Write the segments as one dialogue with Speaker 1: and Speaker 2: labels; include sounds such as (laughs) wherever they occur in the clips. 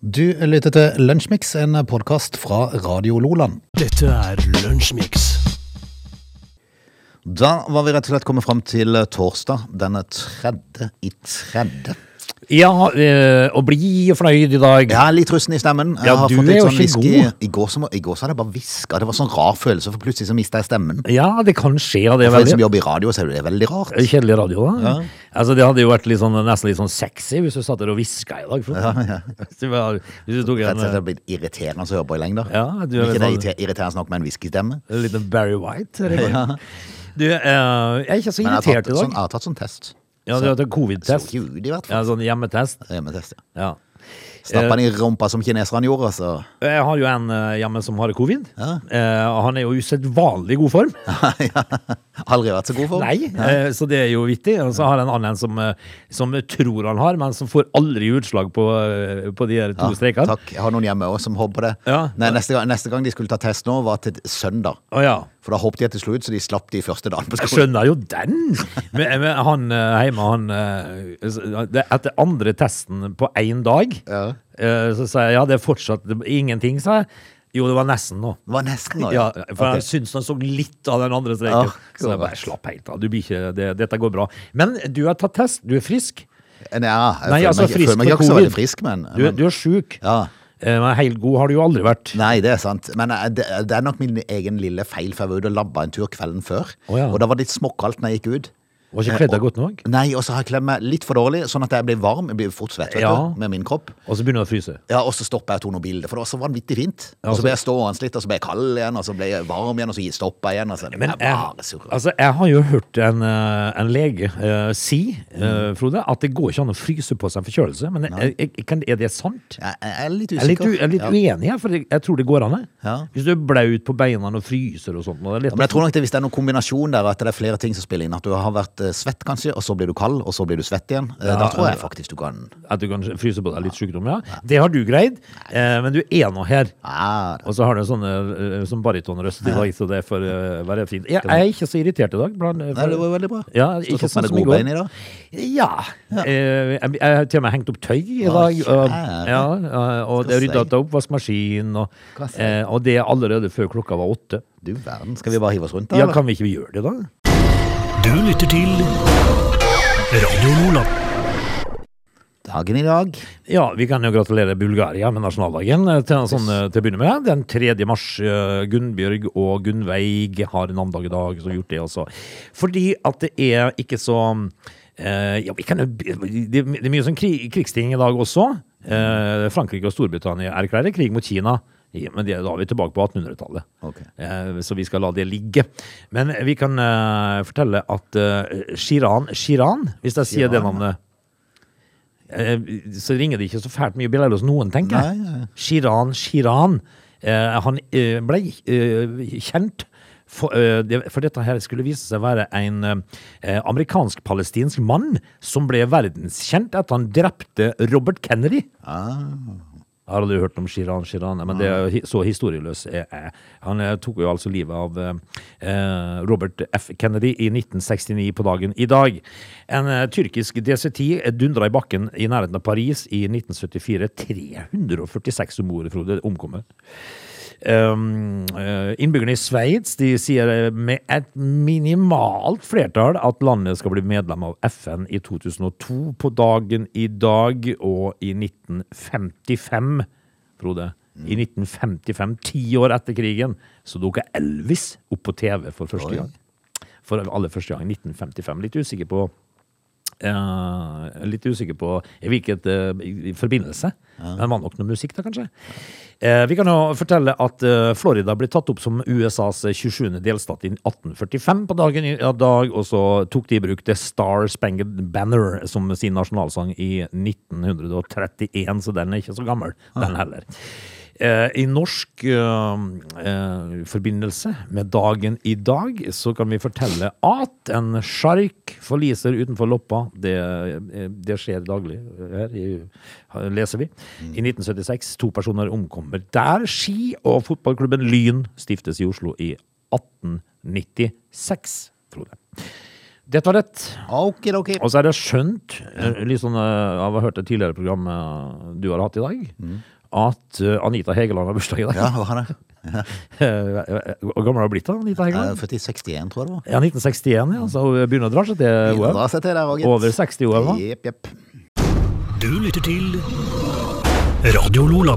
Speaker 1: Du lytter til Lunsjmix, en podkast fra Radio Loland.
Speaker 2: Dette er Lunsjmix.
Speaker 1: Da var vi rett og slett kommet fram til torsdag den tredje i tredje.
Speaker 2: Ja, eh, og bli fornøyd i dag.
Speaker 1: Jeg er litt rusten i stemmen. Jeg
Speaker 2: Ja,
Speaker 1: har
Speaker 2: du
Speaker 1: fått
Speaker 2: er
Speaker 1: litt
Speaker 2: jo
Speaker 1: sånn
Speaker 2: ikke
Speaker 1: hvisk
Speaker 2: god.
Speaker 1: I, i, går, så, må- I går så hadde jeg bare hviska. Det var sånn rar følelse, for plutselig så mista jeg stemmen.
Speaker 2: Ja, det kan skje. og Det er
Speaker 1: For en som
Speaker 2: veldig
Speaker 1: jobber i radio, så er det veldig rart.
Speaker 2: kjedelig radio, da. Altså, det hadde jo vært litt sånn, nesten litt sånn sexy hvis du satt der og hviska i dag. Frode. (laughs) Hvis du bare- Hvis du tok
Speaker 1: Rett og slett
Speaker 2: en,
Speaker 1: har blitt irriterende å høre på i lengder.
Speaker 2: Ja, du er
Speaker 1: ikke
Speaker 2: litt
Speaker 1: det
Speaker 2: sånn-
Speaker 1: irriter- irriterende nok med en whiskystemme.
Speaker 2: en eh, liten Barry White. eller hva? Du, eh, jeg er ikke så
Speaker 1: Men jeg har,
Speaker 2: irritert
Speaker 1: tatt,
Speaker 2: i
Speaker 1: sånn,
Speaker 2: dag.
Speaker 1: jeg har tatt sånn test.
Speaker 2: Ja, du har hatt en
Speaker 1: Så
Speaker 2: covid-test.
Speaker 1: ikke ut i hvert fall.
Speaker 2: Ja, Eh. sånn hjemmetest.
Speaker 1: Hjemmetest, ja.
Speaker 2: Ja.
Speaker 1: Stappa den i rumpa som kineserne gjorde, så
Speaker 2: Jeg har jo en eh, hjemme som har covid.
Speaker 1: Ja.
Speaker 2: Eh, og han er jo i usedvanlig god form.
Speaker 1: ja. Aldri vært så god for.
Speaker 2: Nei, eh, så det er jo vittig. Og så har jeg en annen som, eh, som tror han har, men som får aldri utslag på, eh, på de her to strekene.
Speaker 1: Takk. Jeg har noen hjemme også som håper på det.
Speaker 2: Ja.
Speaker 1: Nei, neste, gang, neste gang de skulle ta test nå, var til søndag.
Speaker 2: Å ja.
Speaker 1: For da håpet de at det slo ut, så de slapp de første dagen på
Speaker 2: Jeg
Speaker 1: skolen.
Speaker 2: skjønner jo den! Men, men han eh, hjemme, han eh, s- det- Etter andre testen på én dag,
Speaker 1: Ja.
Speaker 2: eh, så sa jeg ja, det er fortsatt det- ingenting, sa jeg. Jo, det var nesten nå.
Speaker 1: Det var nesten nå,
Speaker 2: Ja, for
Speaker 1: Ok.
Speaker 2: jeg syns han så litt av den andre
Speaker 1: Ah,
Speaker 2: streken. så jeg
Speaker 1: korrekt.
Speaker 2: bare slapp helt av. Du blir ikke, det, dette går bra. Men du har tatt test. Du er frisk.
Speaker 1: Nei, ja, jeg
Speaker 2: Nei,
Speaker 1: føler meg, ikke-
Speaker 2: altså,
Speaker 1: jeg
Speaker 2: frisk
Speaker 1: føler meg
Speaker 2: for
Speaker 1: ikke så
Speaker 2: covid.
Speaker 1: veldig frisk, men,
Speaker 2: Du,
Speaker 1: men
Speaker 2: du er sjuk.
Speaker 1: Ja.
Speaker 2: Eh, Men helt god har du jo aldri vært.
Speaker 1: Nei, det er sant. Men eh, det, det er nok min egen lille feil, for jeg var ute og labba en tur kvelden før.
Speaker 2: Å, ja.
Speaker 1: Og da var det litt småkaldt når jeg gikk ut.
Speaker 2: Var ikke kledd deg godt nok.
Speaker 1: Nei, og så har jeg kledd meg litt for dårlig, sånn at jeg blir varm. Jeg blir fort svett vet
Speaker 2: Ja.
Speaker 1: du, med min kropp.
Speaker 2: Og så begynner det å fryse.
Speaker 1: Ja, og så stoppa jeg og tok noen bilder, for det var så vanvittig fint.
Speaker 2: Ja,
Speaker 1: Og så
Speaker 2: altså-
Speaker 1: ble jeg stående litt, og så ble jeg kald igjen, og så ble jeg varm igjen, og så stoppa jeg igjen. Og så,
Speaker 2: Men
Speaker 1: jeg bare
Speaker 2: jeg,
Speaker 1: surrer.
Speaker 2: altså, jeg har jo hørt en, eh, en lege eh, si,
Speaker 1: Mm.
Speaker 2: eh, Frode, at det går ikke an å fryse på seg en forkjølelse. Men jeg, jeg, jeg, kan, er det sant?
Speaker 1: Jeg jeg er litt
Speaker 2: Jeg er litt,
Speaker 1: usikker.
Speaker 2: u, jeg er litt
Speaker 1: Ja.
Speaker 2: uenig, her, for jeg, jeg tror det går an. jeg.
Speaker 1: Ja.
Speaker 2: Hvis du er blaut på beina og fryser og sånt. Og det
Speaker 1: Ja,
Speaker 2: er litt,
Speaker 1: Men jeg tror nok det, hvis det er noen kombinasjon der, at det er flere ting som spiller inn, at du har vært eh, svett kanskje, og så blir du kald, og så blir du svett igjen, Eh,
Speaker 2: Ja,
Speaker 1: da tror jeg
Speaker 2: ja.
Speaker 1: faktisk du kan
Speaker 2: At du kan fryse på deg litt sykdom, ja. Det har du greid, eh, men du er nå her.
Speaker 1: Ja, da.
Speaker 2: Og så har du en sånn eh, sånn baritonrøst i dag, så det får eh, være fint. Jeg, jeg er ikke så irritert i dag. Blant, eh,
Speaker 1: Nei, det var jo veldig bra.
Speaker 2: Ja,
Speaker 1: Stått
Speaker 2: ikke
Speaker 1: opp med
Speaker 2: sånn
Speaker 1: det
Speaker 2: som i
Speaker 1: gode
Speaker 2: går.
Speaker 1: beinet i dag.
Speaker 2: Ja. Eh, jeg, jeg har til og med hengt opp tøy i dag. Og,
Speaker 1: kjære.
Speaker 2: ja, eh, og det
Speaker 1: Skal
Speaker 2: rydda
Speaker 1: si.
Speaker 2: til oppvaskmaskin, og,
Speaker 1: Hva si.
Speaker 2: eh, og det allerede før klokka var åtte.
Speaker 1: Du verden, skal vi bare hive oss rundt da?
Speaker 2: Ja,
Speaker 1: eller?
Speaker 2: kan vi ikke gjøre det, da?
Speaker 3: Du lytter til Radio Lola.
Speaker 1: Dagen i dag.
Speaker 2: Ja, vi kan jo gratulere Bulgaria med nasjonaldagen eh, til, sånn, eh, til å begynne med. Den 3. mars. eh, Gunnbjørg og Gunnveig har navndag i dag, så har gjort det også. Fordi at det er ikke så eh, ja, vi kan, jo- det, det er mye sånn krig, krigsting i dag også. Eh, Frankrike og Storbritannia erklærer krig mot Kina. Ja, Men det, da er vi tilbake på 1800-tallet.
Speaker 1: Ok.
Speaker 2: Eh, Så vi skal la det ligge. Men vi kan eh, fortelle at eh, Shiran Shiran, hvis jeg sier det
Speaker 1: Shiran,
Speaker 2: navnet Eh, så ringer det ikke så fælt mye bjeller hos noen, tenker jeg.
Speaker 1: Nei, nei.
Speaker 2: Shiran Shiran. Eh, han eh, ble eh, kjent for, eh, det, for dette her skulle vise seg å være en eh, amerikansk-palestinsk mann som ble verdenskjent etter han drepte Robert Kennedy. Jeg har aldri hørt om Shiran Shiran, men det er hi- så historieløs jeg er. Han eh, tok jo altså livet av eh, Robert F. Kennedy i 1969 på dagen i dag. En eh, tyrkisk DC-10 dundra i bakken i nærheten av Paris i 1974. 346 om ordet, Frode, omkommer. Um, eh, innbyggerne i Sveits de sier eh, med et minimalt flertall at landet skal bli medlem av FN i 2002 på dagen i dag og i 1955, Frode. I 1955, ti år etter krigen, så dukka Elvis opp på TV for første gang. For aller første gang. 1955. Litt usikker på Eh, litt usikker på i hvilket eh, i- i forbindelse. Men det var nok noe musikk, da, kanskje. Eh, vi kan jo fortelle at eh, Florida ble tatt opp som USAs 27. eh, delstat i 1845 på dagen i ja, dag, og så tok de i bruk The Star Spangled Banner som sin nasjonalsang i 1931, så den er ikke så gammel, den heller. Eh, I norsk eh, eh, forbindelse med dagen i dag, så kan vi fortelle at en sjark forliser utenfor Loppa. Det, eh, det skjer daglig her, i, eh, leser vi. I 1976. To personer omkommer der. Ski- og fotballklubben Lyn stiftes i Oslo i 1896, Frode. Dette var rett.
Speaker 1: Okidoki.
Speaker 2: Og så er det skjønt, eh, litt sånn eh, av å ha hørt et tidligere program eh, du har hatt i dag, at eh, Anita Hegeland har bursdag i dag.
Speaker 1: Mm. Ja, hva var det?
Speaker 2: (laughs) Eh, Hvor gammel har hun blitt da, Anita
Speaker 1: Eh,
Speaker 2: Hegeland?
Speaker 1: Født i 61, tror jeg det var.
Speaker 2: Ja, 1961, ja. Så hun begynner å dra seg til
Speaker 1: Eh, Begynner å
Speaker 2: OL.
Speaker 1: dra seg til der, og gitt.
Speaker 2: Over 60 år nå.
Speaker 1: Jepp, jepp.
Speaker 3: Du lytter til Radio Lola.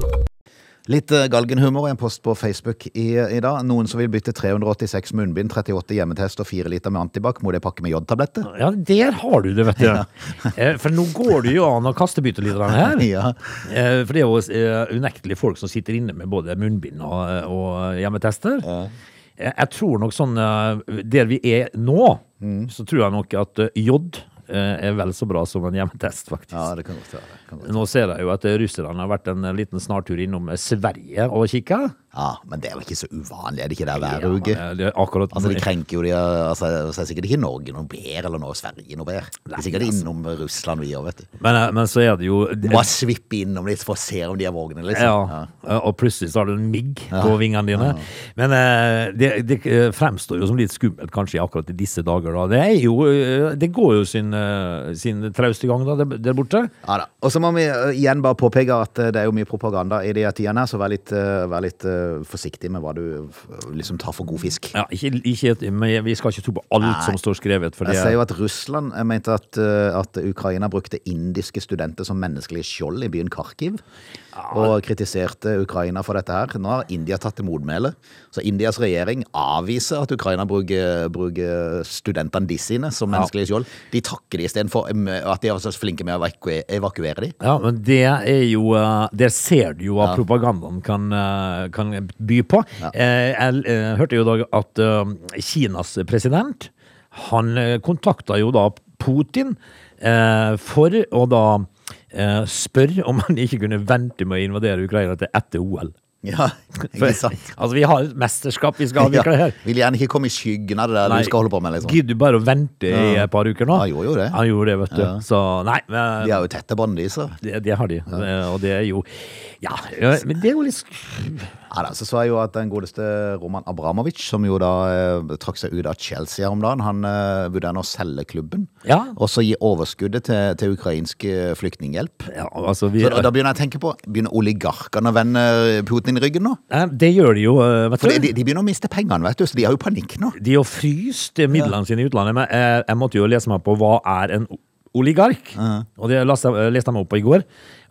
Speaker 1: Litt eh, galgenhumor i en post på Facebook i, i dag. Noen som vil bytte 386 munnbind, 38 hjemmetest og 4 liter med antibac mot en pakke med jodtabletter.
Speaker 2: Ja, der har du det, vet du. Eh, For nå går det jo an å kastebytte litt av den her.
Speaker 1: (laughs) Ja.
Speaker 2: Eh, For det er jo eh, unektelig folk som sitter inne med både munnbind og, eh, og hjemmetester. Eh, Jeg tror nok sånn eh, Der vi er nå,
Speaker 1: Mm.
Speaker 2: så tror jeg nok at eh, jod eh, er vel så bra som en hjemmetest, faktisk.
Speaker 1: ja, det kan godt være. det Kan godt. være.
Speaker 2: Nå ser jeg jo at eh, russerne har vært en eh, liten snartur innom eh, Sverige og kikka.
Speaker 1: Ja, Men det er vel ikke så uvanlig, er det ikke det hver
Speaker 2: Ja, men,
Speaker 1: uke?
Speaker 2: eh, det er akkurat
Speaker 1: Altså, De krenker jo de eh, altså, Så er sikkert ikke Norge noe bedre, eller noe Sverige noe bedre. De er sikkert innom Russland, vi òg, vet du.
Speaker 2: men, eh, men så er det jo altså- det-
Speaker 1: Bare svippe innom litt for å se om de er vågne, liksom.
Speaker 2: ja, og plutselig så har du en migg på vingene dine. Men eh, det, det eh, fremstår jo som litt skummelt kanskje akkurat i disse dager. Da. Det, er jo, eh, det går jo sin, eh, sin trauste gang da, der- der borte.
Speaker 1: Ja da. Og så må vi eh, igjen bare påpeke at eh, det er jo mye propaganda i de her tidene, her, så vær litt, eh, vær litt eh, forsiktig med hva du eh, liksom tar for god fisk.
Speaker 2: Ja, ikke, ikke, men vi skal ikke tro på alt
Speaker 1: Nei.
Speaker 2: som står skrevet. For det,
Speaker 1: Jeg sier jo at Russland jeg mente at, eh, at Ukraina brukte indiske studenter som menneskelige skjold i byen Kharkiv, og kritiserte Ukraina for dette her. Nå har India tatt til motmæle, så Indias regjering avviser at Ukraina bruker, bruker studentene de sine som menneskelige skjold. De takker de istedenfor um, at de er så flinke med å evaku evakuere de.
Speaker 2: ja, men det er jo eh, Der ser du jo hva propagandaen kan, eh, kan by på. Eh, Jeg eh, hørte jo i dag at eh, Kinas president Han eh, kontakta jo da Putin eh, for å da eh, spørre om han ikke kunne vente med å invadere Ukraina til etter OL.
Speaker 1: (laughs) Ja,
Speaker 2: For,
Speaker 1: ikke sant?
Speaker 2: (laughs) altså, vi har et mesterskap vi skal avvikle
Speaker 1: (laughs) Ja,
Speaker 2: her.
Speaker 1: vil gjerne ikke komme i skyggen av det der du skal holde på med, liksom.
Speaker 2: Gidder du bare å vente i et par uker nå?
Speaker 1: Ja, gjorde jo det.
Speaker 2: Han gjorde det, vet du. Så nei, men,
Speaker 1: De er jo tette bånd, de, så.
Speaker 2: det, det har de. Eh, Og det er jo Ja, ja, men det er jo litt sk-
Speaker 1: Ja, da, så så jeg jo at den godeste Roman Abramovic, som jo da eh, trakk seg ut av Chelsea her om dagen, han eh, vurderte å selge klubben.
Speaker 2: Ja.
Speaker 1: Og så gi overskuddet til, til ukrainsk eh, flyktninghjelp.
Speaker 2: ja, altså vi,
Speaker 1: Så da, da begynner jeg å tenke på, begynner oligarkene å vende eh, Putin i ryggen nå?
Speaker 2: Nei, Det gjør de jo, eh, vet
Speaker 1: For de,
Speaker 2: du.
Speaker 1: de, de begynner å miste pengene, vet du, så de har jo panikk nå.
Speaker 2: De har fryst midlene sine i utlandet, men jeg, jeg måtte jo lese meg på hva er en o- oligark. Og det leste, jeg- leste jeg meg opp på i går.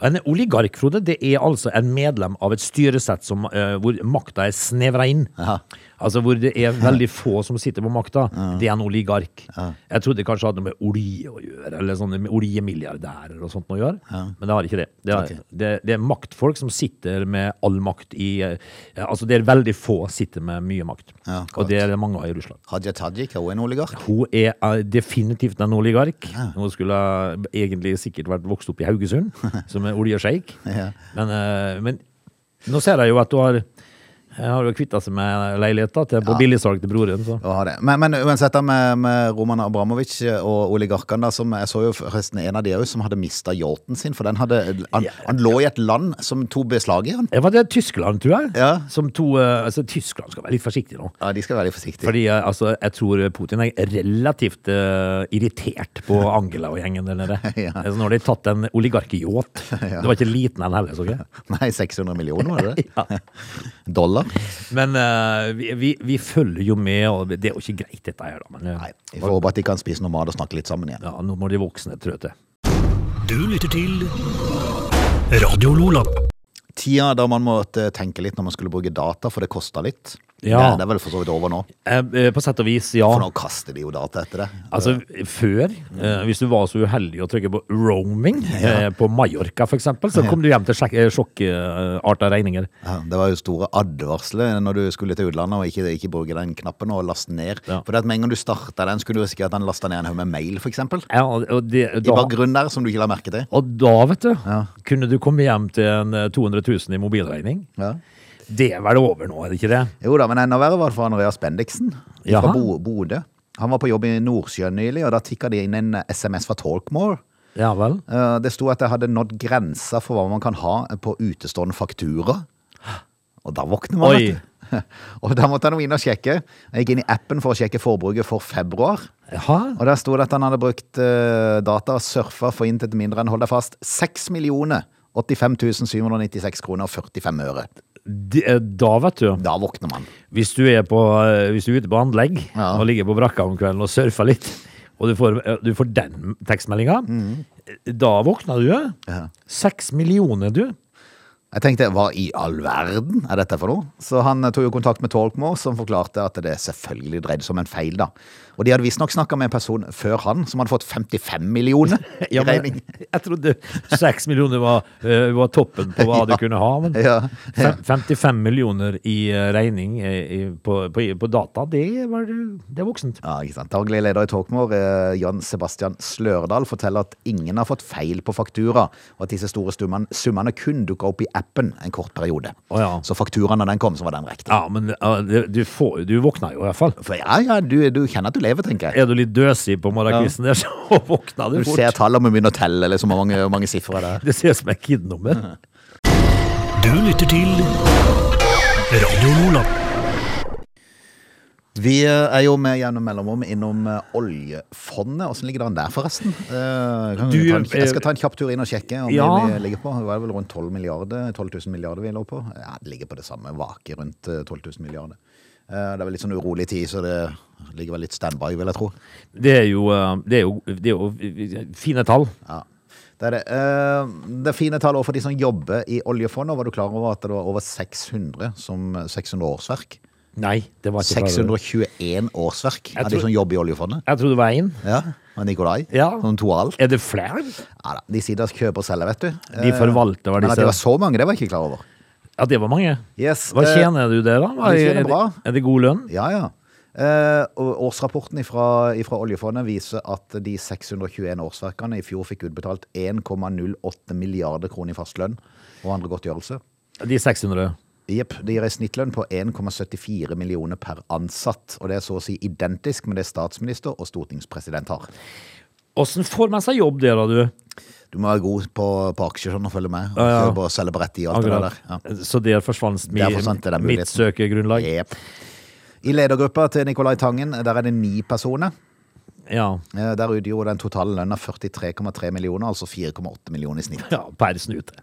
Speaker 2: En oligark, Frode, det er altså en medlem av et styresett som, eh, hvor makta er snevra inn. Altså hvor det er veldig få som sitter på makta. Det er en oligark. Jeg trodde kanskje det hadde noe med olje å gjøre, eller sånne med oljemilliardærer og sånt noe å gjøre, men det har ikke det. Det er, det, det er maktfolk som sitter med all makt i eh, Altså det er veldig få sitter med mye makt,
Speaker 1: Ja,
Speaker 2: og det er det mange av i Russland.
Speaker 1: Hadia Tajik er jo en oligark.
Speaker 2: Hun er eh, definitivt en oligark. Hun skulle egentlig sikkert vært vokst opp i Haugesund,
Speaker 1: (laughs)
Speaker 2: som en oljesjeik.
Speaker 1: Ja.
Speaker 2: Men, eh, men nå ser jeg jo at hun har, eh, har jo kvitta seg med leiligheta til- på billigsalg til broren. Så.
Speaker 1: Å ha det. Men, men uansett da med, med Roman Abramovic eh, og oligarkene da, som jeg så jo forresten en av de også, som hadde mistet yachten sin, for den hadde, han, han lå i et land som tog beslag i han.
Speaker 2: Det var det Tyskland, tror jeg.
Speaker 1: Ja.
Speaker 2: Som to, eh, altså, Tyskland skal være litt forsiktig nå.
Speaker 1: Ja, de skal være litt forsiktige.
Speaker 2: Fordi eh, altså, jeg tror Putin er relativt eh, irritert på
Speaker 1: (laughs)
Speaker 2: Angela og gjengen der nede.
Speaker 1: Ja.
Speaker 2: Altså, Nå har de tatt en oligarkyacht.
Speaker 1: (laughs)
Speaker 2: Det var ikke liten en heller, så ikke jeg.
Speaker 1: Nei, 600 millioner, var
Speaker 2: (laughs)
Speaker 1: det det? Dollar?
Speaker 2: Men eh, vi, vi, vi følger jo med, og det er jo ikke greit dette her, da. Men eh,
Speaker 1: Nei, vi får håpe at de kan spise noe mat og snakke litt sammen igjen.
Speaker 2: ja, nå må de voksne trå til.
Speaker 3: Du lytter til Radio Lola.
Speaker 1: Tida da man måtte tenke litt når man skulle bruke data, for det kosta litt.
Speaker 2: Ja.
Speaker 1: Det, det er vel for så vidt over nå.
Speaker 2: Eh, eh, på sett og vis, ja.
Speaker 1: For nå kaster de jo data etter det.
Speaker 2: Altså, før, eh, hvis du var så uheldig å trykke på roaming eh, på Mallorca f.eks., så kom du hjem til sjekk- eh, sjokkarta regninger.
Speaker 1: Ja, det var jo store advarsler når du skulle til utlandet og ikke, ikke bruke den knappen og laste ned.
Speaker 2: Ja.
Speaker 1: For det at med en gang du starta den, skulle du risikere at den lasta ned en haug med mail, f.eks. I
Speaker 2: Ja, og- og det, da,
Speaker 1: bakgrunnen der, som du ikke la merke til.
Speaker 2: Og da, vet du, kunne du komme hjem til en eh, 200 000 i mobilregning.
Speaker 1: Ja.
Speaker 2: Det er vel over nå, er det ikke det?
Speaker 1: Jo da, men enda verre var det for Andreas Bendiksen fra
Speaker 2: Jaha.
Speaker 1: Bo Bodø. Han var på jobb i Nordsjøen nylig, og da tikka det inn en SMS fra Talkmore.
Speaker 2: Ja vel.
Speaker 1: Eh, Det sto at jeg hadde nådd grensa for hva man kan ha på utestående faktura. Og da våkner man,
Speaker 2: Oi.
Speaker 1: vet du. (laughs) Og da måtte han jo inn og sjekke. Han gikk inn i appen for å sjekke forbruket for februar.
Speaker 2: Jaha?
Speaker 1: Og der sto det at han hadde brukt eh, data og surfa for intet mindre enn, hold deg fast, 6 millioner 85 796 kroner og 45 øre.
Speaker 2: De, eh, da, vet du.
Speaker 1: Da våkner man.
Speaker 2: Hvis du er, på, eh, hvis du er ute på anlegg
Speaker 1: Ja.
Speaker 2: og ligger på brakka om kvelden og surfer litt, og du får, eh, du får den tekstmeldinga, da våkner du.
Speaker 1: Mm. Ja.
Speaker 2: Seks millioner, du.
Speaker 1: Jeg tenkte, hva i all verden er dette for noe? Så han eh, tok jo kontakt med Talkmore, som forklarte at det selvfølgelig dreide seg om en feil, da. Og de hadde visstnok snakka med en person før han, som hadde fått 55 millioner i
Speaker 2: (laughs) Ja, men,
Speaker 1: regning.
Speaker 2: jeg trodde seks millioner var, eh, var toppen på hva du kunne ha. Men
Speaker 1: Ja.
Speaker 2: fem- 55 millioner i eh, regning eh, i, på, på, på data, det, var, det er voksent.
Speaker 1: Ja, ikke sant. Daglig leder i Talkmore, eh, Jan Sebastian Slørdal, forteller at ingen har fått feil på faktura, og at disse store summene, summene kun dukka opp i appen en kort periode.
Speaker 2: Å, ja.
Speaker 1: Så fakturaen da den kom, så var den riktig.
Speaker 2: Ja, men eh, det- du, får, du våkner jo i hvert fall.
Speaker 1: For ja, ja, du, du kjenner at du lever, tenker jeg.
Speaker 2: Er du litt døsig på morgenkvisten der, så (laughs) våkner du
Speaker 1: Du
Speaker 2: fort.
Speaker 1: ser tallene og begynner å telle, liksom, hvor mange, hvor mange sifre det er.
Speaker 2: Det ser ut som et kidnummer.
Speaker 1: (laughs)
Speaker 3: Du lytter til Radio Lola.
Speaker 1: Vi eh, er jo med gjennom mellomrom innom eh, oljefondet. Åssen ligger det an der, forresten? Eh, kan vi
Speaker 2: Du,
Speaker 1: ta en, jeg
Speaker 2: eh,
Speaker 1: skal ta en kjapp tur inn og sjekke om
Speaker 2: ja.
Speaker 1: vi ligger på. Det var vel rundt 12 milliarder, 12 000 milliarder vi lå på. Ja, det ligger på det samme. Vaker rundt eh, 12 000 milliarder. Eh, Det er vel litt sånn urolig tid, så det ligger vel litt standby, vil jeg tro.
Speaker 2: Det er jo, eh, det er jo, det er jo fine tall.
Speaker 1: Ja, det er det. Eh, Det er fine tall også for de som jobber i oljefondet. Var du klar over at det var over 600, som 600 årsverk?
Speaker 2: Nei, det var ikke
Speaker 1: 621 årsverk
Speaker 2: Jeg
Speaker 1: av de
Speaker 2: tror-
Speaker 1: som jobber i oljefondet.
Speaker 2: Jeg trodde det var én.
Speaker 1: Ja, og Nikolai,
Speaker 2: Ja.
Speaker 1: som tog alt.
Speaker 2: Er det flere?
Speaker 1: Ja, da. De sitter og kjøper og selger, vet du. Eh,
Speaker 2: De forvalter hva de
Speaker 1: Men at det
Speaker 2: selger.
Speaker 1: var så mange, det var jeg ikke klar over.
Speaker 2: Ja, det var mange.
Speaker 1: Yes,
Speaker 2: Hva
Speaker 1: eh,
Speaker 2: tjener du der, da? Hva,
Speaker 1: jeg
Speaker 2: er,
Speaker 1: tjener
Speaker 2: er,
Speaker 1: bra.
Speaker 2: det, er det god lønn?
Speaker 1: Ja, ja. Eh, og årsrapporten fra oljefondet viser at de 621 årsverkene i fjor fikk utbetalt 1,08 milliarder kroner i fastlønn og andre godtgjørelser.
Speaker 2: De 600.
Speaker 1: Jepp, det gir en snittlønn på 1,74 millioner per ansatt, og det er så å si identisk med det statsminister og stortingspresident har.
Speaker 2: Åssen får man seg jobb der, da, du?
Speaker 1: Du må være god på, på aksjer sånn og følge med, og
Speaker 2: Ja, ja.
Speaker 1: kjøpe og selge på rett tid og alt det der. Ja.
Speaker 2: Så der forsvant mi,
Speaker 1: Der forsvant det, den
Speaker 2: mitt
Speaker 1: muligheten.
Speaker 2: søkegrunnlag.
Speaker 1: Jep. I ledergruppa til Nicolai Tangen, der er det ni personer.
Speaker 2: Ja.
Speaker 1: Eh, Der utgjorde den totale lønna 43,3 millioner, altså 4,8 millioner i snitt.
Speaker 2: ja. Per snute.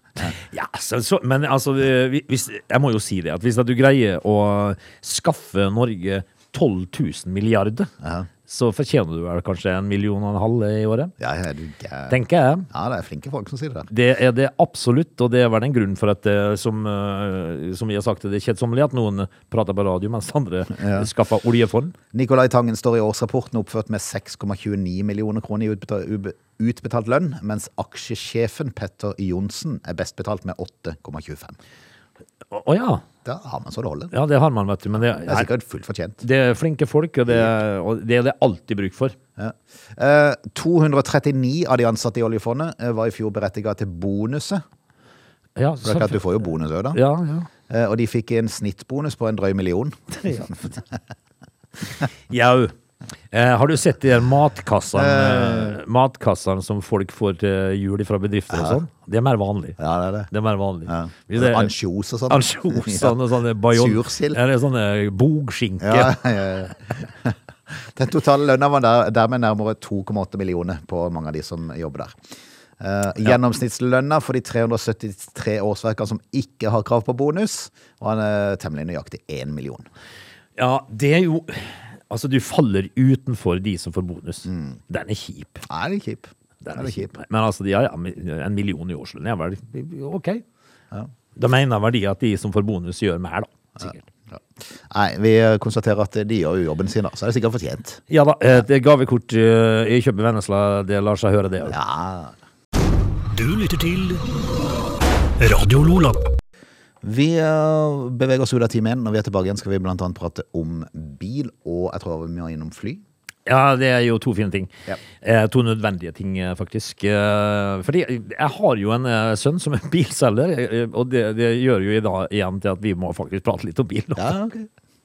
Speaker 2: Ja, så, så, men altså, vi- hvis, jeg må jo si det, at hvis at du greier å skaffe Norge 12 000 milliarder,
Speaker 1: Ja.
Speaker 2: så fortjener du vel kanskje en million og en halv i året?
Speaker 1: Ja, er du gæren?
Speaker 2: Tenker jeg.
Speaker 1: Ja, det er flinke folk som sier det. der.
Speaker 2: Det er det absolutt, og det er vel en grunn for at eh, som, eh, som vi har sagt, det er kjedsommelig at noen prater på radio, mens (laughs) andre
Speaker 1: Ja.
Speaker 2: skaffer oljefond.
Speaker 1: Nicolai Tangen står i årsrapporten oppført med 6,29 millioner kroner i utbetalt, ube- utbetalt lønn, mens aksjesjefen Petter Johnsen er best betalt med 8,25.
Speaker 2: Å å ja.
Speaker 1: Da har man så det holder.
Speaker 2: ja, det har man, vet du. Men det,
Speaker 1: Det er sikkert fullt fortjent.
Speaker 2: det er flinke folk, og det, er- og det er det alltid bruk for.
Speaker 1: Ja. Eh, 239 av de ansatte i oljefondet eh, var i fjor berettiget til bonuset.
Speaker 2: Ja,
Speaker 1: For det er klart du får jo bonus også da.
Speaker 2: ja, ja.
Speaker 1: Eh, Og de fikk en snittbonus på en drøy million.
Speaker 2: Jau. Eh, har du sett de der matkassene, eh, matkassene som folk får til jul fra bedrifter og sånn? Det er mer vanlig.
Speaker 1: Ja, det er det.
Speaker 2: Det er mer vanlig.
Speaker 1: Ja.
Speaker 2: Hvis det er-
Speaker 1: Ansjos og sånn.
Speaker 2: Ansjos og sånne bajon...
Speaker 1: Sursild.
Speaker 2: Eller sånne bogskinke.
Speaker 1: Ja, ja, ja, ja. (laughs) Den totale lønna var der, dermed nærmere 2,8 millioner på mange av de som jobber der. Eh, gjennomsnittslønna for de 373 årsverkene som ikke har krav på bonus, var eh, temmelig nøyaktig 1 million.
Speaker 2: Ja, det er jo Altså, du faller utenfor de som får bonus. Den er kjip.
Speaker 1: Er det kjip?
Speaker 2: Den
Speaker 1: Er Mm. det kjip?
Speaker 2: Men altså, de har ja, en million i årslønn. Ja vel, OK.
Speaker 1: Ja.
Speaker 2: Da mener vel de at de som får bonus, gjør mer, da. Sikkert.
Speaker 1: Ja. Nei, vi konstaterer at de gjør jo jobben sin, da, så er det sikkert fortjent.
Speaker 2: Ja da. Et gavekort eh, i kjøpet Vennesla, det lar seg høre, det. altså. Ja.
Speaker 1: Ja.
Speaker 3: Du lytter til Radio Lola.
Speaker 1: Vi eh, beveger oss ut av time 1. Når vi er tilbake igjen, skal vi blant annet prate om bil, og jeg tror vi må innom fly.
Speaker 2: det er jo to fine ting.
Speaker 1: Ja.
Speaker 2: Eh, to nødvendige ting, eh, faktisk. Eh, fordi jeg har jo en eh, sønn som er eh, bilselger, eh, og det, det gjør jo i dag igjen til at vi må faktisk prate litt om bil. nå.
Speaker 1: Ja, ok.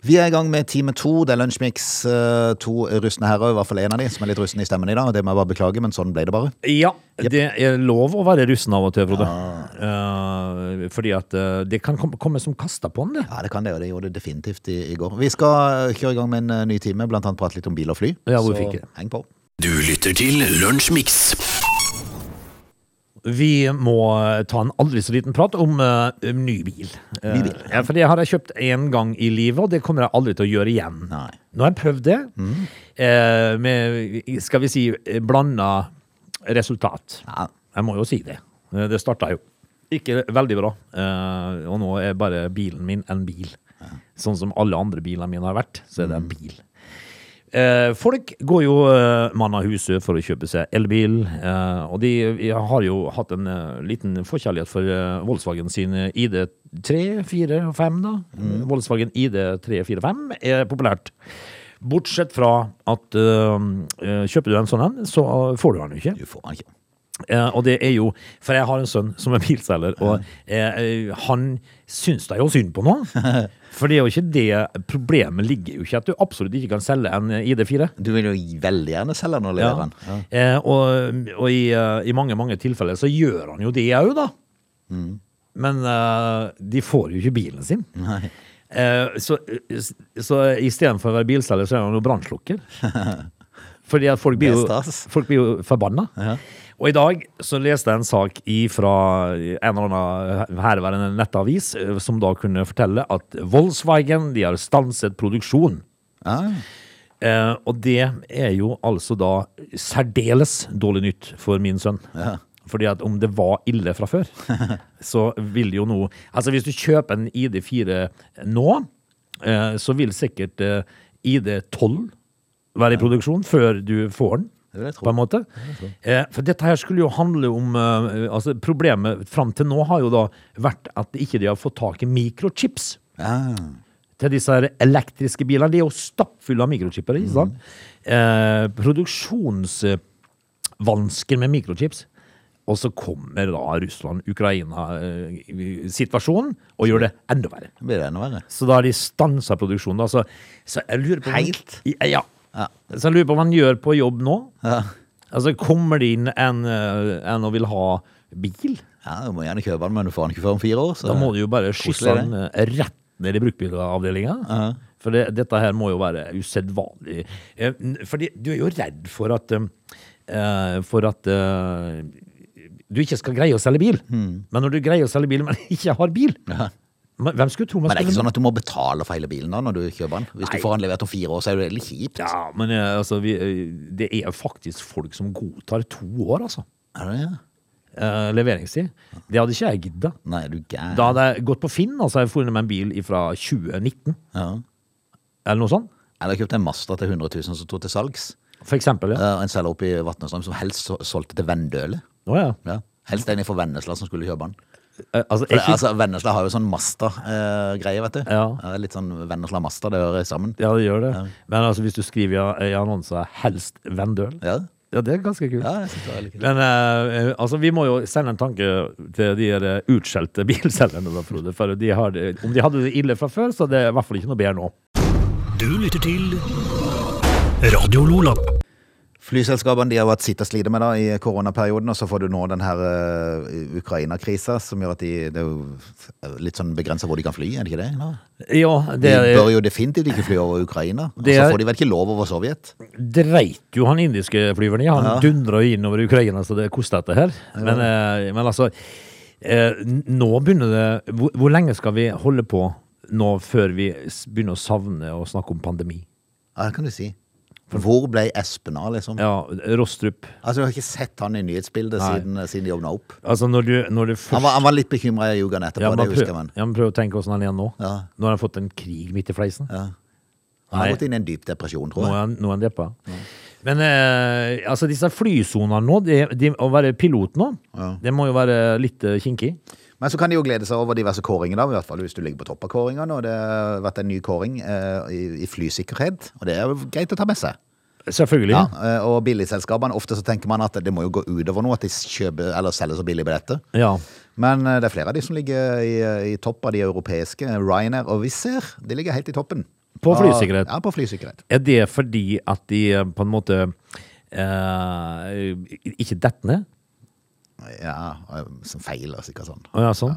Speaker 1: Vi er i gang med time to. Det er Lunsjmix. eh, To rustne herrer, i hvert fall en av de, som er litt rusten i stemmen i dag. Det må jeg bare beklage, men sånn ble det bare.
Speaker 2: Ja, det er lov å være russen av og til, Frode.
Speaker 1: Ah.
Speaker 2: Eh, fordi at eh, det kan kom, komme som kasta på en, det.
Speaker 1: Ja, det kan det, og det gjorde det definitivt i, i går. Vi skal kjøre i gang med en eh, ny time, blant annet prate litt om bil og fly.
Speaker 2: Ja, hvorfor
Speaker 1: Så
Speaker 2: ikke?
Speaker 1: heng på.
Speaker 3: Du lytter til Lunsjmix.
Speaker 2: Vi må eh, ta en aldri så liten prat om eh, om ny bil. Eh,
Speaker 1: Ny bil,
Speaker 2: ja, for det har jeg kjøpt én gang i livet, og det kommer jeg aldri til å gjøre igjen.
Speaker 1: Nei. Mm.
Speaker 2: Nå har jeg prøvd det, eh, med skal vi si blanda resultat.
Speaker 1: Ja.
Speaker 2: Jeg må jo si det. Eh, Det starta jo ikke veldig bra, eh, og nå er bare bilen min en bil. Sånn som alle andre bilene mine har vært, så er det
Speaker 1: Mm.
Speaker 2: en bil. Eh, Folk går jo eh, mann av huset for å kjøpe seg elbil, eh, og de eh, har jo hatt en eh, liten forkjærlighet for eh, Volkswagen sin eh, ID3, 4 og 5, da. Volkswagen ID3, 4 og 5 er populært. Bortsett fra at eh, eh, kjøper du en sånn en, så eh, får du den jo ikke.
Speaker 1: Du får den ikke.
Speaker 2: Eh, og det er jo, for jeg har en sønn som er bilselger, og eh, eh, han syns det er jo synd på noe. For det er jo ikke det Problemet ligger jo ikke at du absolutt ikke kan selge en eh, ID4.
Speaker 1: Du vil jo veldig gjerne selge den og levere den. Ja.
Speaker 2: Eh, og og i, eh, i mange, mange tilfeller så gjør han jo det òg, da.
Speaker 1: Mm.
Speaker 2: Men eh, de får jo ikke bilen sin. Eh, så så istedenfor å være bilselger, så er han jo
Speaker 1: (laughs)
Speaker 2: brannslukker. Fordi at folk blir
Speaker 1: Det
Speaker 2: jo,
Speaker 1: er stas.
Speaker 2: folk blir jo forbanna. Og i dag så leste jeg en sak fra en eller annen herværende nettavis, eh, som da kunne fortelle at Volkswagen de har stanset produksjon.
Speaker 1: Ja.
Speaker 2: Eh, og det er jo altså da særdeles dårlig nytt for min sønn. Fordi at om det var ille
Speaker 1: (laughs)
Speaker 2: fra før, så vil jo nå Altså hvis du kjøper en ID4 nå, eh, så vil sikkert eh, ID12 være i produksjon før du får den.
Speaker 1: Det vil jeg tro.
Speaker 2: På en måte. Eh, for dette her skulle jo handle om eh, altså Problemet fram til nå har jo da vært at ikke de har fått tak i mikrochips
Speaker 1: Ja.
Speaker 2: til disse her elektriske bilene. De er jo stappfulle av mikrochipper. Ikke sant? Eh, produksjonsvansker med mikrochips. Og så kommer da Russland-Ukraina-situasjonen og gjør det enda verre.
Speaker 1: Da blir det enda verre.
Speaker 2: Så da har de stansa produksjonen. Da. Så, så jeg lurer på
Speaker 1: Helt?
Speaker 2: Ja.
Speaker 1: Ja.
Speaker 2: Så jeg lurer på hva man gjør på jobb nå.
Speaker 1: Ja.
Speaker 2: Altså, kommer det inn en, eh, en og vil ha bil?
Speaker 1: ja, Du må gjerne kjøpe den, men du får den ikke før om fire år. Så.
Speaker 2: Da må du jo bare skysse
Speaker 1: eh, Koselig,
Speaker 2: den eh, rett ned i bruktbilavdelinga. For det, dette her må jo være usedvanlig. Eh, n- Fordi du er jo redd for at eh, For at eh, du ikke skal greie å selge bil.
Speaker 1: Hmm.
Speaker 2: Men når du greier å selge bil, men (laughs) ikke har bil men Hvem skulle tro man
Speaker 1: Men det er
Speaker 2: skulle
Speaker 1: ikke sånn at du må betale for hele bilen da når du kjøper den. Hvis
Speaker 2: Nei.
Speaker 1: du får den levert om fire år, så er det veldig kjipt.
Speaker 2: Ja, men eh, altså, vi, eh, det er faktisk folk som godtar to år, altså.
Speaker 1: Er det det?
Speaker 2: Eh, leveringstid. Det hadde ikke jeg gidda.
Speaker 1: Nei, er du gæren.
Speaker 2: Da hadde jeg gått på Finn, altså. Jeg funnet meg en bil fra 2019,
Speaker 1: Ja.
Speaker 2: eller noe sånt.
Speaker 1: Eller kjøpte en Mazda til 100 000 som sto til salgs.
Speaker 2: For eksempel,
Speaker 1: Eh,
Speaker 2: ja.
Speaker 1: En selger oppe i Vatnestrøm som helst sol- solgte til Vendøle.
Speaker 2: Å, ja.
Speaker 1: Ja. Helst en fra Vennesla som skulle kjøpe den.
Speaker 2: Eh, Altså,
Speaker 1: For
Speaker 2: er
Speaker 1: det,
Speaker 2: ikke,
Speaker 1: altså, Vennesla har jo sånn Masta-greie, vet du.
Speaker 2: Ja.
Speaker 1: Litt sånn Vennesla-Masta, det hører sammen.
Speaker 2: ja, det gjør det. Men altså, hvis du skriver i- i annonser 'helst Vendøl',
Speaker 1: Ja,
Speaker 2: ja, det er ganske kult.
Speaker 1: ja jeg synes det var veldig kult.
Speaker 2: Men eh, eh, altså, vi må jo sende en tanke til de her, eh, utskjelte (laughs) bilselgerne, da, Frode. For de har, det- om de hadde det ille fra før, så det er i hvert fall ikke noe bedre nå.
Speaker 3: Du lytter til Radio Lola.
Speaker 1: Flyselskapene de har jo hatt sitt å slite med da i koronaperioden, og så får du nå den her eh, Ukraina-krisa, som gjør at de, det er jo litt sånn begrenset hvor de kan fly, er det ikke det? nå?
Speaker 2: Ja,
Speaker 1: De bør
Speaker 2: det
Speaker 1: jo definitivt ikke fly over Ukraina, og
Speaker 2: Det
Speaker 1: så
Speaker 2: er-
Speaker 1: får de vel ikke lov over Sovjet.
Speaker 2: dreit jo han indiske flyveren i. Han dundra jo inn over Ukraina, så det kosta dette her. Men, eh, men altså, eh, n- nå begynner det hvor, hvor lenge skal vi holde på nå før vi s- begynner å savne å snakke om pandemi?
Speaker 1: Ja, det kan du si. Hvor ble Espen av, liksom?
Speaker 2: Ja, Rostrup.
Speaker 1: Altså, Du har ikke sett han i nyhetsbildet
Speaker 2: Nei.
Speaker 1: siden, eh, siden de åpna opp.
Speaker 2: Altså når du, når du
Speaker 1: Han
Speaker 2: først
Speaker 1: var, han var litt bekymra i jugene etterpå,
Speaker 2: ja, men
Speaker 1: det
Speaker 2: prøv,
Speaker 1: husker man.
Speaker 2: ja, men prøv å tenke åssen han er nå.
Speaker 1: Ja.
Speaker 2: Nå har han fått en krig midt i fleisen.
Speaker 1: Ja. Han har
Speaker 2: Nei.
Speaker 1: gått inn i en dyp depresjon,
Speaker 2: Nå
Speaker 1: tror
Speaker 2: er
Speaker 1: jeg.
Speaker 2: han, nå er han deppa. Men eh, altså disse flysonene nå, de, de, å være pilot nå, det må jo være litt eh, kinkig.
Speaker 1: Men så kan de jo glede seg over diverse kåringer, da, i hvert fall hvis du ligger på topp av kåringene. Og det har vært en ny kåring eh, i, i flysikkerhet, og det er jo greit å ta med seg.
Speaker 2: Selvfølgelig.
Speaker 1: Ja, eh, og billigselskapene, ofte så tenker man at det må jo gå utover noe at de kjøper eller selger så billige billetter.
Speaker 2: Ja.
Speaker 1: Men eh, det er flere av de som ligger i, i topp av de europeiske. Ryanair og Wizz Air, de ligger helt i toppen.
Speaker 2: På
Speaker 1: Ja,
Speaker 2: flysikkerhet.
Speaker 1: Ja, på flysikkerhet.
Speaker 2: Er det fordi at de eh, på en måte eh, ikke detter ned?
Speaker 1: Ja, eh, som feil og sikkert sånn.
Speaker 2: Å ja, sånn.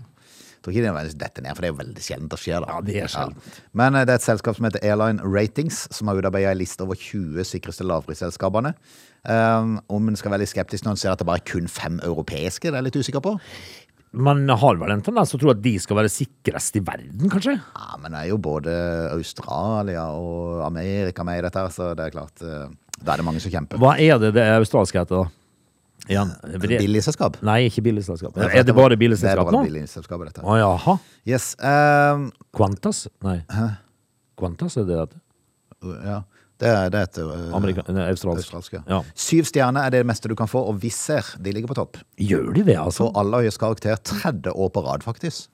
Speaker 1: Jeg tror ikke det er veldig dette ned, for det er jo veldig sjeldent det skjer. da.
Speaker 2: Ja, det er sjeldent.
Speaker 1: Ja. Men eh, det er et selskap som heter Airline Ratings, som har utarbeidet en liste over 20 sikreste lavprisselskapene. Um, om en skal være litt skeptisk når en ser at det bare er kun fem europeiske, det er jeg litt usikker på.
Speaker 2: Man har vel en tendens til å tro at de skal være sikrest i verden, kanskje?
Speaker 1: Ja, Men det er jo både Australia og Amerika med i dette, her, så det er klart eh, Da er det mange som kjemper.
Speaker 2: Hva er det det australske heter, da? Igjen. Vre-
Speaker 1: Billigselskap.
Speaker 2: Nei, ikke billigselskap. Er det bare billigselskap nå?
Speaker 1: Det er bare billigselskapet, dette.
Speaker 2: Å jaha.
Speaker 1: Yes. Um,
Speaker 2: Qantas? Nei. Qantas er det det heter?
Speaker 1: ja. Det er, det er et eh,
Speaker 2: Amerika- nei, Australsk.
Speaker 1: australsk. ja.
Speaker 2: Ja.
Speaker 1: Syv stjerner er det meste du kan få, og Wizz Air de ligger på topp.
Speaker 2: Gjør de det,
Speaker 1: På
Speaker 2: altså?
Speaker 1: aller høyest karakter 30 år på rad, faktisk.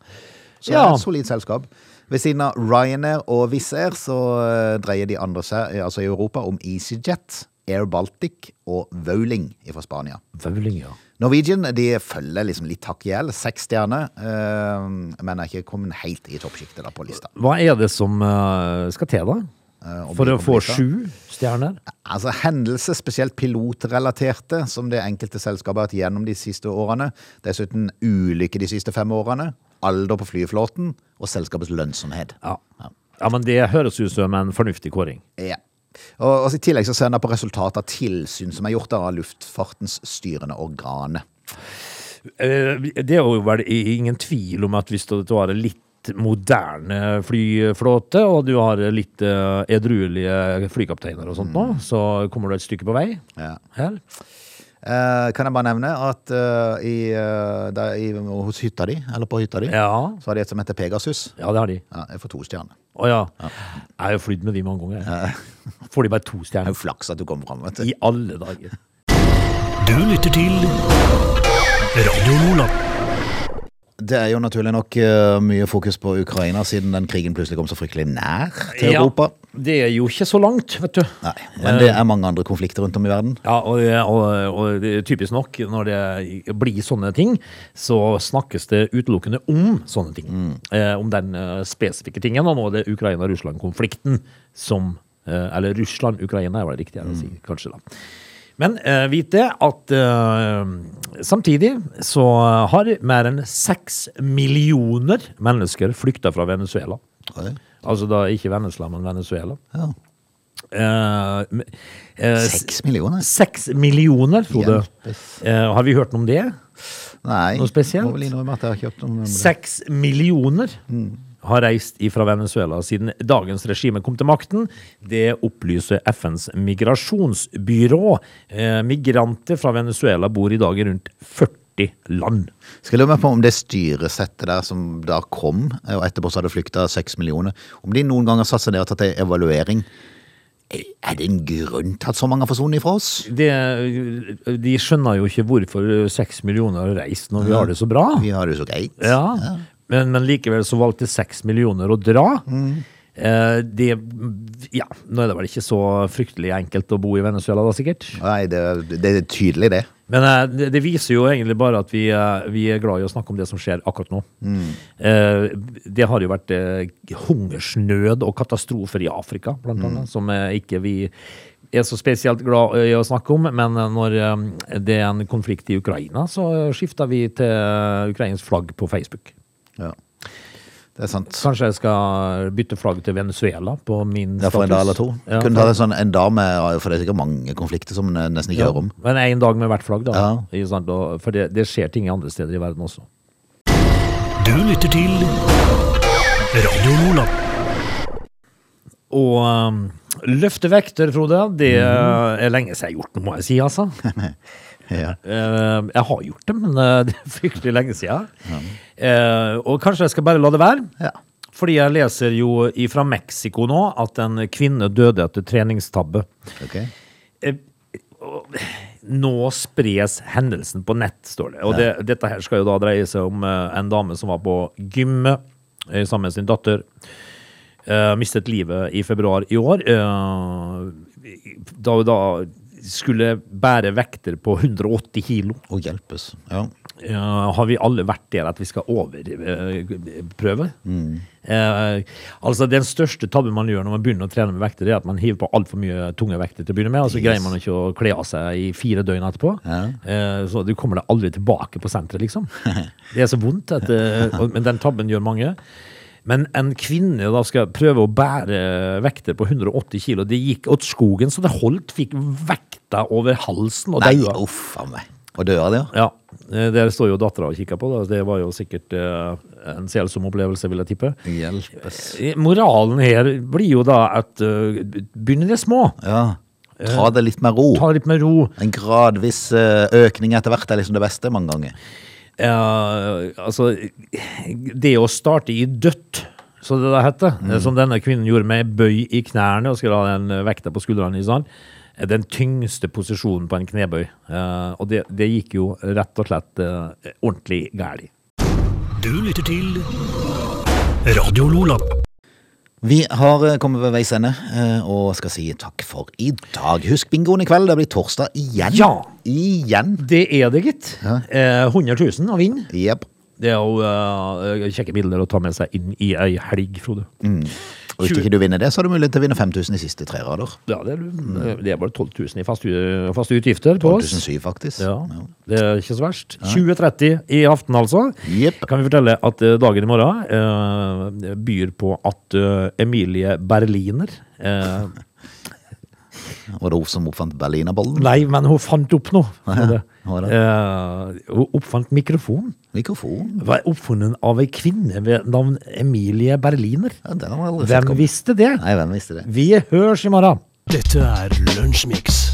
Speaker 1: Så det
Speaker 2: Ja.
Speaker 1: er et solid selskap. Ved siden av Ryanair og Wizz Air så eh, dreier de andre seg, eh, altså i Europa, om EasyJet, Air Baltic og Vowling fra Spania.
Speaker 2: Vøvling, ja.
Speaker 1: Norwegian de følger liksom litt hakk i hjel. Seks stjerner, eh, men er ikke kommet helt i toppsjiktet da på lista.
Speaker 2: Hva er det som eh, skal til, da?
Speaker 1: Eh, om
Speaker 2: For
Speaker 1: de
Speaker 2: å få
Speaker 1: kommer dit, da?
Speaker 2: sju stjerner?
Speaker 1: Altså Hendelser, spesielt pilotrelaterte, som det enkelte selskapet har hatt gjennom de siste årene. Dessuten ulykke de siste fem årene. Alder på flyflåten og selskapets lønnsomhet.
Speaker 2: Ja. ja, men det høres ut som en fornuftig kåring.
Speaker 1: Ja. Og, og I tillegg så ser en da på resultatet av tilsyn som er gjort av luftfartens styrende organer.
Speaker 2: Eh, Det er jo vel i- ingen tvil om at hvis du du har en litt moderne flyflåte, og du har litt eh, edruelige flykapteiner og sånt nå, så kommer du et stykke på vei
Speaker 1: Mm. Ja.
Speaker 2: her.
Speaker 1: Eh, kan jeg bare nevne at eh, i, eh, der, i, hos hytta di, eller på hytta di,
Speaker 2: Ja,
Speaker 1: så har de et som heter Pegasus.
Speaker 2: ja det har de.
Speaker 1: Ja, jeg får to stjerner.
Speaker 2: Å ja. Jeg har jo flydd med de mange ganger. jeg. Får de bare to
Speaker 1: Det er
Speaker 2: stjerner?
Speaker 1: jo flaks at du kom fram. vet du.
Speaker 2: I alle dager.
Speaker 3: Du lytter til Radio Lola.
Speaker 1: Det er jo naturlig nok eh, mye fokus på Ukraina, siden den krigen plutselig kom så fryktelig nær til
Speaker 2: Ja,
Speaker 1: Europa.
Speaker 2: det er jo ikke så langt, vet du.
Speaker 1: Nei, Men det er mange andre konflikter rundt om i verden.
Speaker 2: Ja, og, og, og det er typisk nok, når det blir sånne ting, så snakkes det utelukkende om sånne ting. Eh, om den eh, spesifikke tingen, og nå er det Ukraina-Russland-konflikten som eh, Eller Russland-Ukraina er vel riktig å si, kanskje, da. Men eh, vit det at eh, samtidig så har mer enn seks millioner mennesker flykta fra Venezuela.
Speaker 1: Oi.
Speaker 2: Altså da ikke Venezuela, men Venezuela.
Speaker 1: Ja.
Speaker 2: Eh, men, eh,
Speaker 1: Seks millioner?
Speaker 2: Seks millioner, Frode.
Speaker 1: Hjelpes.
Speaker 2: Eh, har vi hørt noe om det?
Speaker 1: Nei,
Speaker 2: Noe spesielt?
Speaker 1: må vel innrømme at jeg har ikke hørt om om det. Mm.
Speaker 2: Seks millioner har reist fra Venezuela siden dagens regime kom til makten. Det opplyser FNs migrasjonsbyrå. Eh, migranter fra Venezuela bor i dag i rundt 40 land.
Speaker 1: Skal jeg lure meg på om det styresettet der som da kom, eh, og etterpå så hadde flykta seks millioner, om de noen gang har satt seg ned og tatt ei evaluering? Er er det en grunn til at så mange har forsvunnet ifra oss?
Speaker 2: Det, de skjønner jo ikke hvorfor seks millioner har reist når vi har det så bra.
Speaker 1: Vi har det jo så greit.
Speaker 2: Ja, men, men likevel så valgte seks millioner å dra. Eh, det, ja, nå er det vel ikke så fryktelig enkelt å bo i Venezuela da, sikkert.
Speaker 1: Nei, det, det er tydelig, det.
Speaker 2: Men eh, det, det viser jo egentlig bare at vi, eh, vi er glad i å snakke om det som skjer akkurat nå. Eh, det har jo vært eh, hungersnød og katastrofer i Afrika, blant annet, som eh, ikke vi er så spesielt glad i å snakke om. Men eh, når eh, det er en konflikt i Ukraina, så eh, skifter vi til eh, ukrainsk flagg på Facebook.
Speaker 1: Ja. Det er sant.
Speaker 2: Kanskje jeg skal bytte flagg til Venezuela på min
Speaker 1: Ja, for en dag eller to.
Speaker 2: Ja,
Speaker 1: Kunne
Speaker 2: for-
Speaker 1: ta det sånn en dag med For det er sikkert mange konflikter som en nesten ikke
Speaker 2: (laughs)
Speaker 1: hører om.
Speaker 2: Men en dag med hvert flagg, da.
Speaker 1: Ja.
Speaker 2: Ikke sant? Og- For det, det skjer ting andre steder i verden også.
Speaker 3: Du lytter til Radio Lola.
Speaker 2: Og um, løfte vekter, Frode, det
Speaker 1: Mhm.
Speaker 2: er lenge siden jeg har gjort det, må jeg si,
Speaker 1: (laughs)
Speaker 2: altså.
Speaker 1: Ja.
Speaker 2: Eh, jeg har gjort det, men eh, (laughs) det er fryktelig lenge siden. Eh, og kanskje jeg skal bare la det være.
Speaker 1: Ja.
Speaker 2: Fordi jeg leser jo fra Mexico nå at en kvinne døde etter treningstabbe.
Speaker 1: Ok.
Speaker 2: Eh, og- Nå spres hendelsen på nett, står det. Og det, dette her skal jo da dreie seg om eh, en dame som var på gymmet eh, sammen med sin datter. Eh, mistet livet i februar i år. Eh, da hun da skulle bære vekter på 180 kilo.
Speaker 1: Og hjelpes. Ja.
Speaker 2: Ja, har vi alle vært der at vi skal overprøve? Eh, altså Den største tabben man gjør når man begynner å trene med vekter, det er at man hiver på altfor mye tunge vekter til å begynne med, og så greier man ikke å kle av seg i fire døgn etterpå. Eh, så du kommer deg aldri tilbake på senteret, liksom. Det er så vondt, at, eh, og- men den tabben gjør mange. Men en kvinne da skal prøve å bære vekter på 180 kilo, det gikk åt skogen, så det holdt, fikk vekta over halsen og
Speaker 1: Nei,
Speaker 2: daua.
Speaker 1: uff a meg. Og døra der.
Speaker 2: Ja, eh, der står jo dattera og kikker på. Da. Det var jo sikkert eh, en selsom opplevelse, vil jeg tippe.
Speaker 1: Hjelpes.
Speaker 2: Eh, Moralen her blir jo da at eh, begynn i det små.
Speaker 1: Ja. Ta det litt med ro.
Speaker 2: Ta det litt med ro.
Speaker 1: En gradvis eh, økning etter hvert er liksom det beste mange ganger.
Speaker 2: Eh, altså, det å starte i dødt, som det da heter, eh, som denne kvinnen gjorde med bøy i knærne og skulle ha den eh, vekta på skuldrene i sand, eh, den tyngste posisjonen på en knebøy. Eh, og det, det gikk jo rett og slett eh, ordentlig galt.
Speaker 3: Du lytter til Radio Lola.
Speaker 1: Vi har eh, kommet ved veis ende eh, og skal si takk for i dag. Husk bingoen i kveld. Det blir torsdag igjen.
Speaker 2: Ja.
Speaker 1: Igjen.
Speaker 2: Det er det, gitt. Eh, 100 000 å vinne.
Speaker 1: Jepp.
Speaker 2: Det er jo eh, kjekke bilder å ta med seg inn i ei helg, Frode.
Speaker 1: Og hvis ikke du vinner det, så har du mulighet til å vinne 5000 i siste tre rader.
Speaker 2: Ja, det, er, mm, det er bare 12 000 i faste, faste utgifter på oss.
Speaker 1: 1007, faktisk.
Speaker 2: Ja, det er ikke så verst. 20.30 i aften, altså.
Speaker 1: Jepp.
Speaker 2: Kan vi fortelle at eh, dagen i morgen eh, byr på at eh, Emilie Berliner eh,
Speaker 1: Var det hun som oppfant berlinerbollen?
Speaker 2: Nei, men hun fant opp noe. Frode.
Speaker 1: hva da?
Speaker 2: Eh, hun oppfant mikrofon.
Speaker 1: Mikrofon?
Speaker 2: Var oppfunnet av ei kvinne ved navn Emilie Berliner.
Speaker 1: Ja, den har jeg aldri sett
Speaker 2: Hvem
Speaker 1: komme.
Speaker 2: visste det?
Speaker 1: Nei, hvem visste det?
Speaker 2: Vi høres i morgen.
Speaker 3: Dette er Lunsjmix.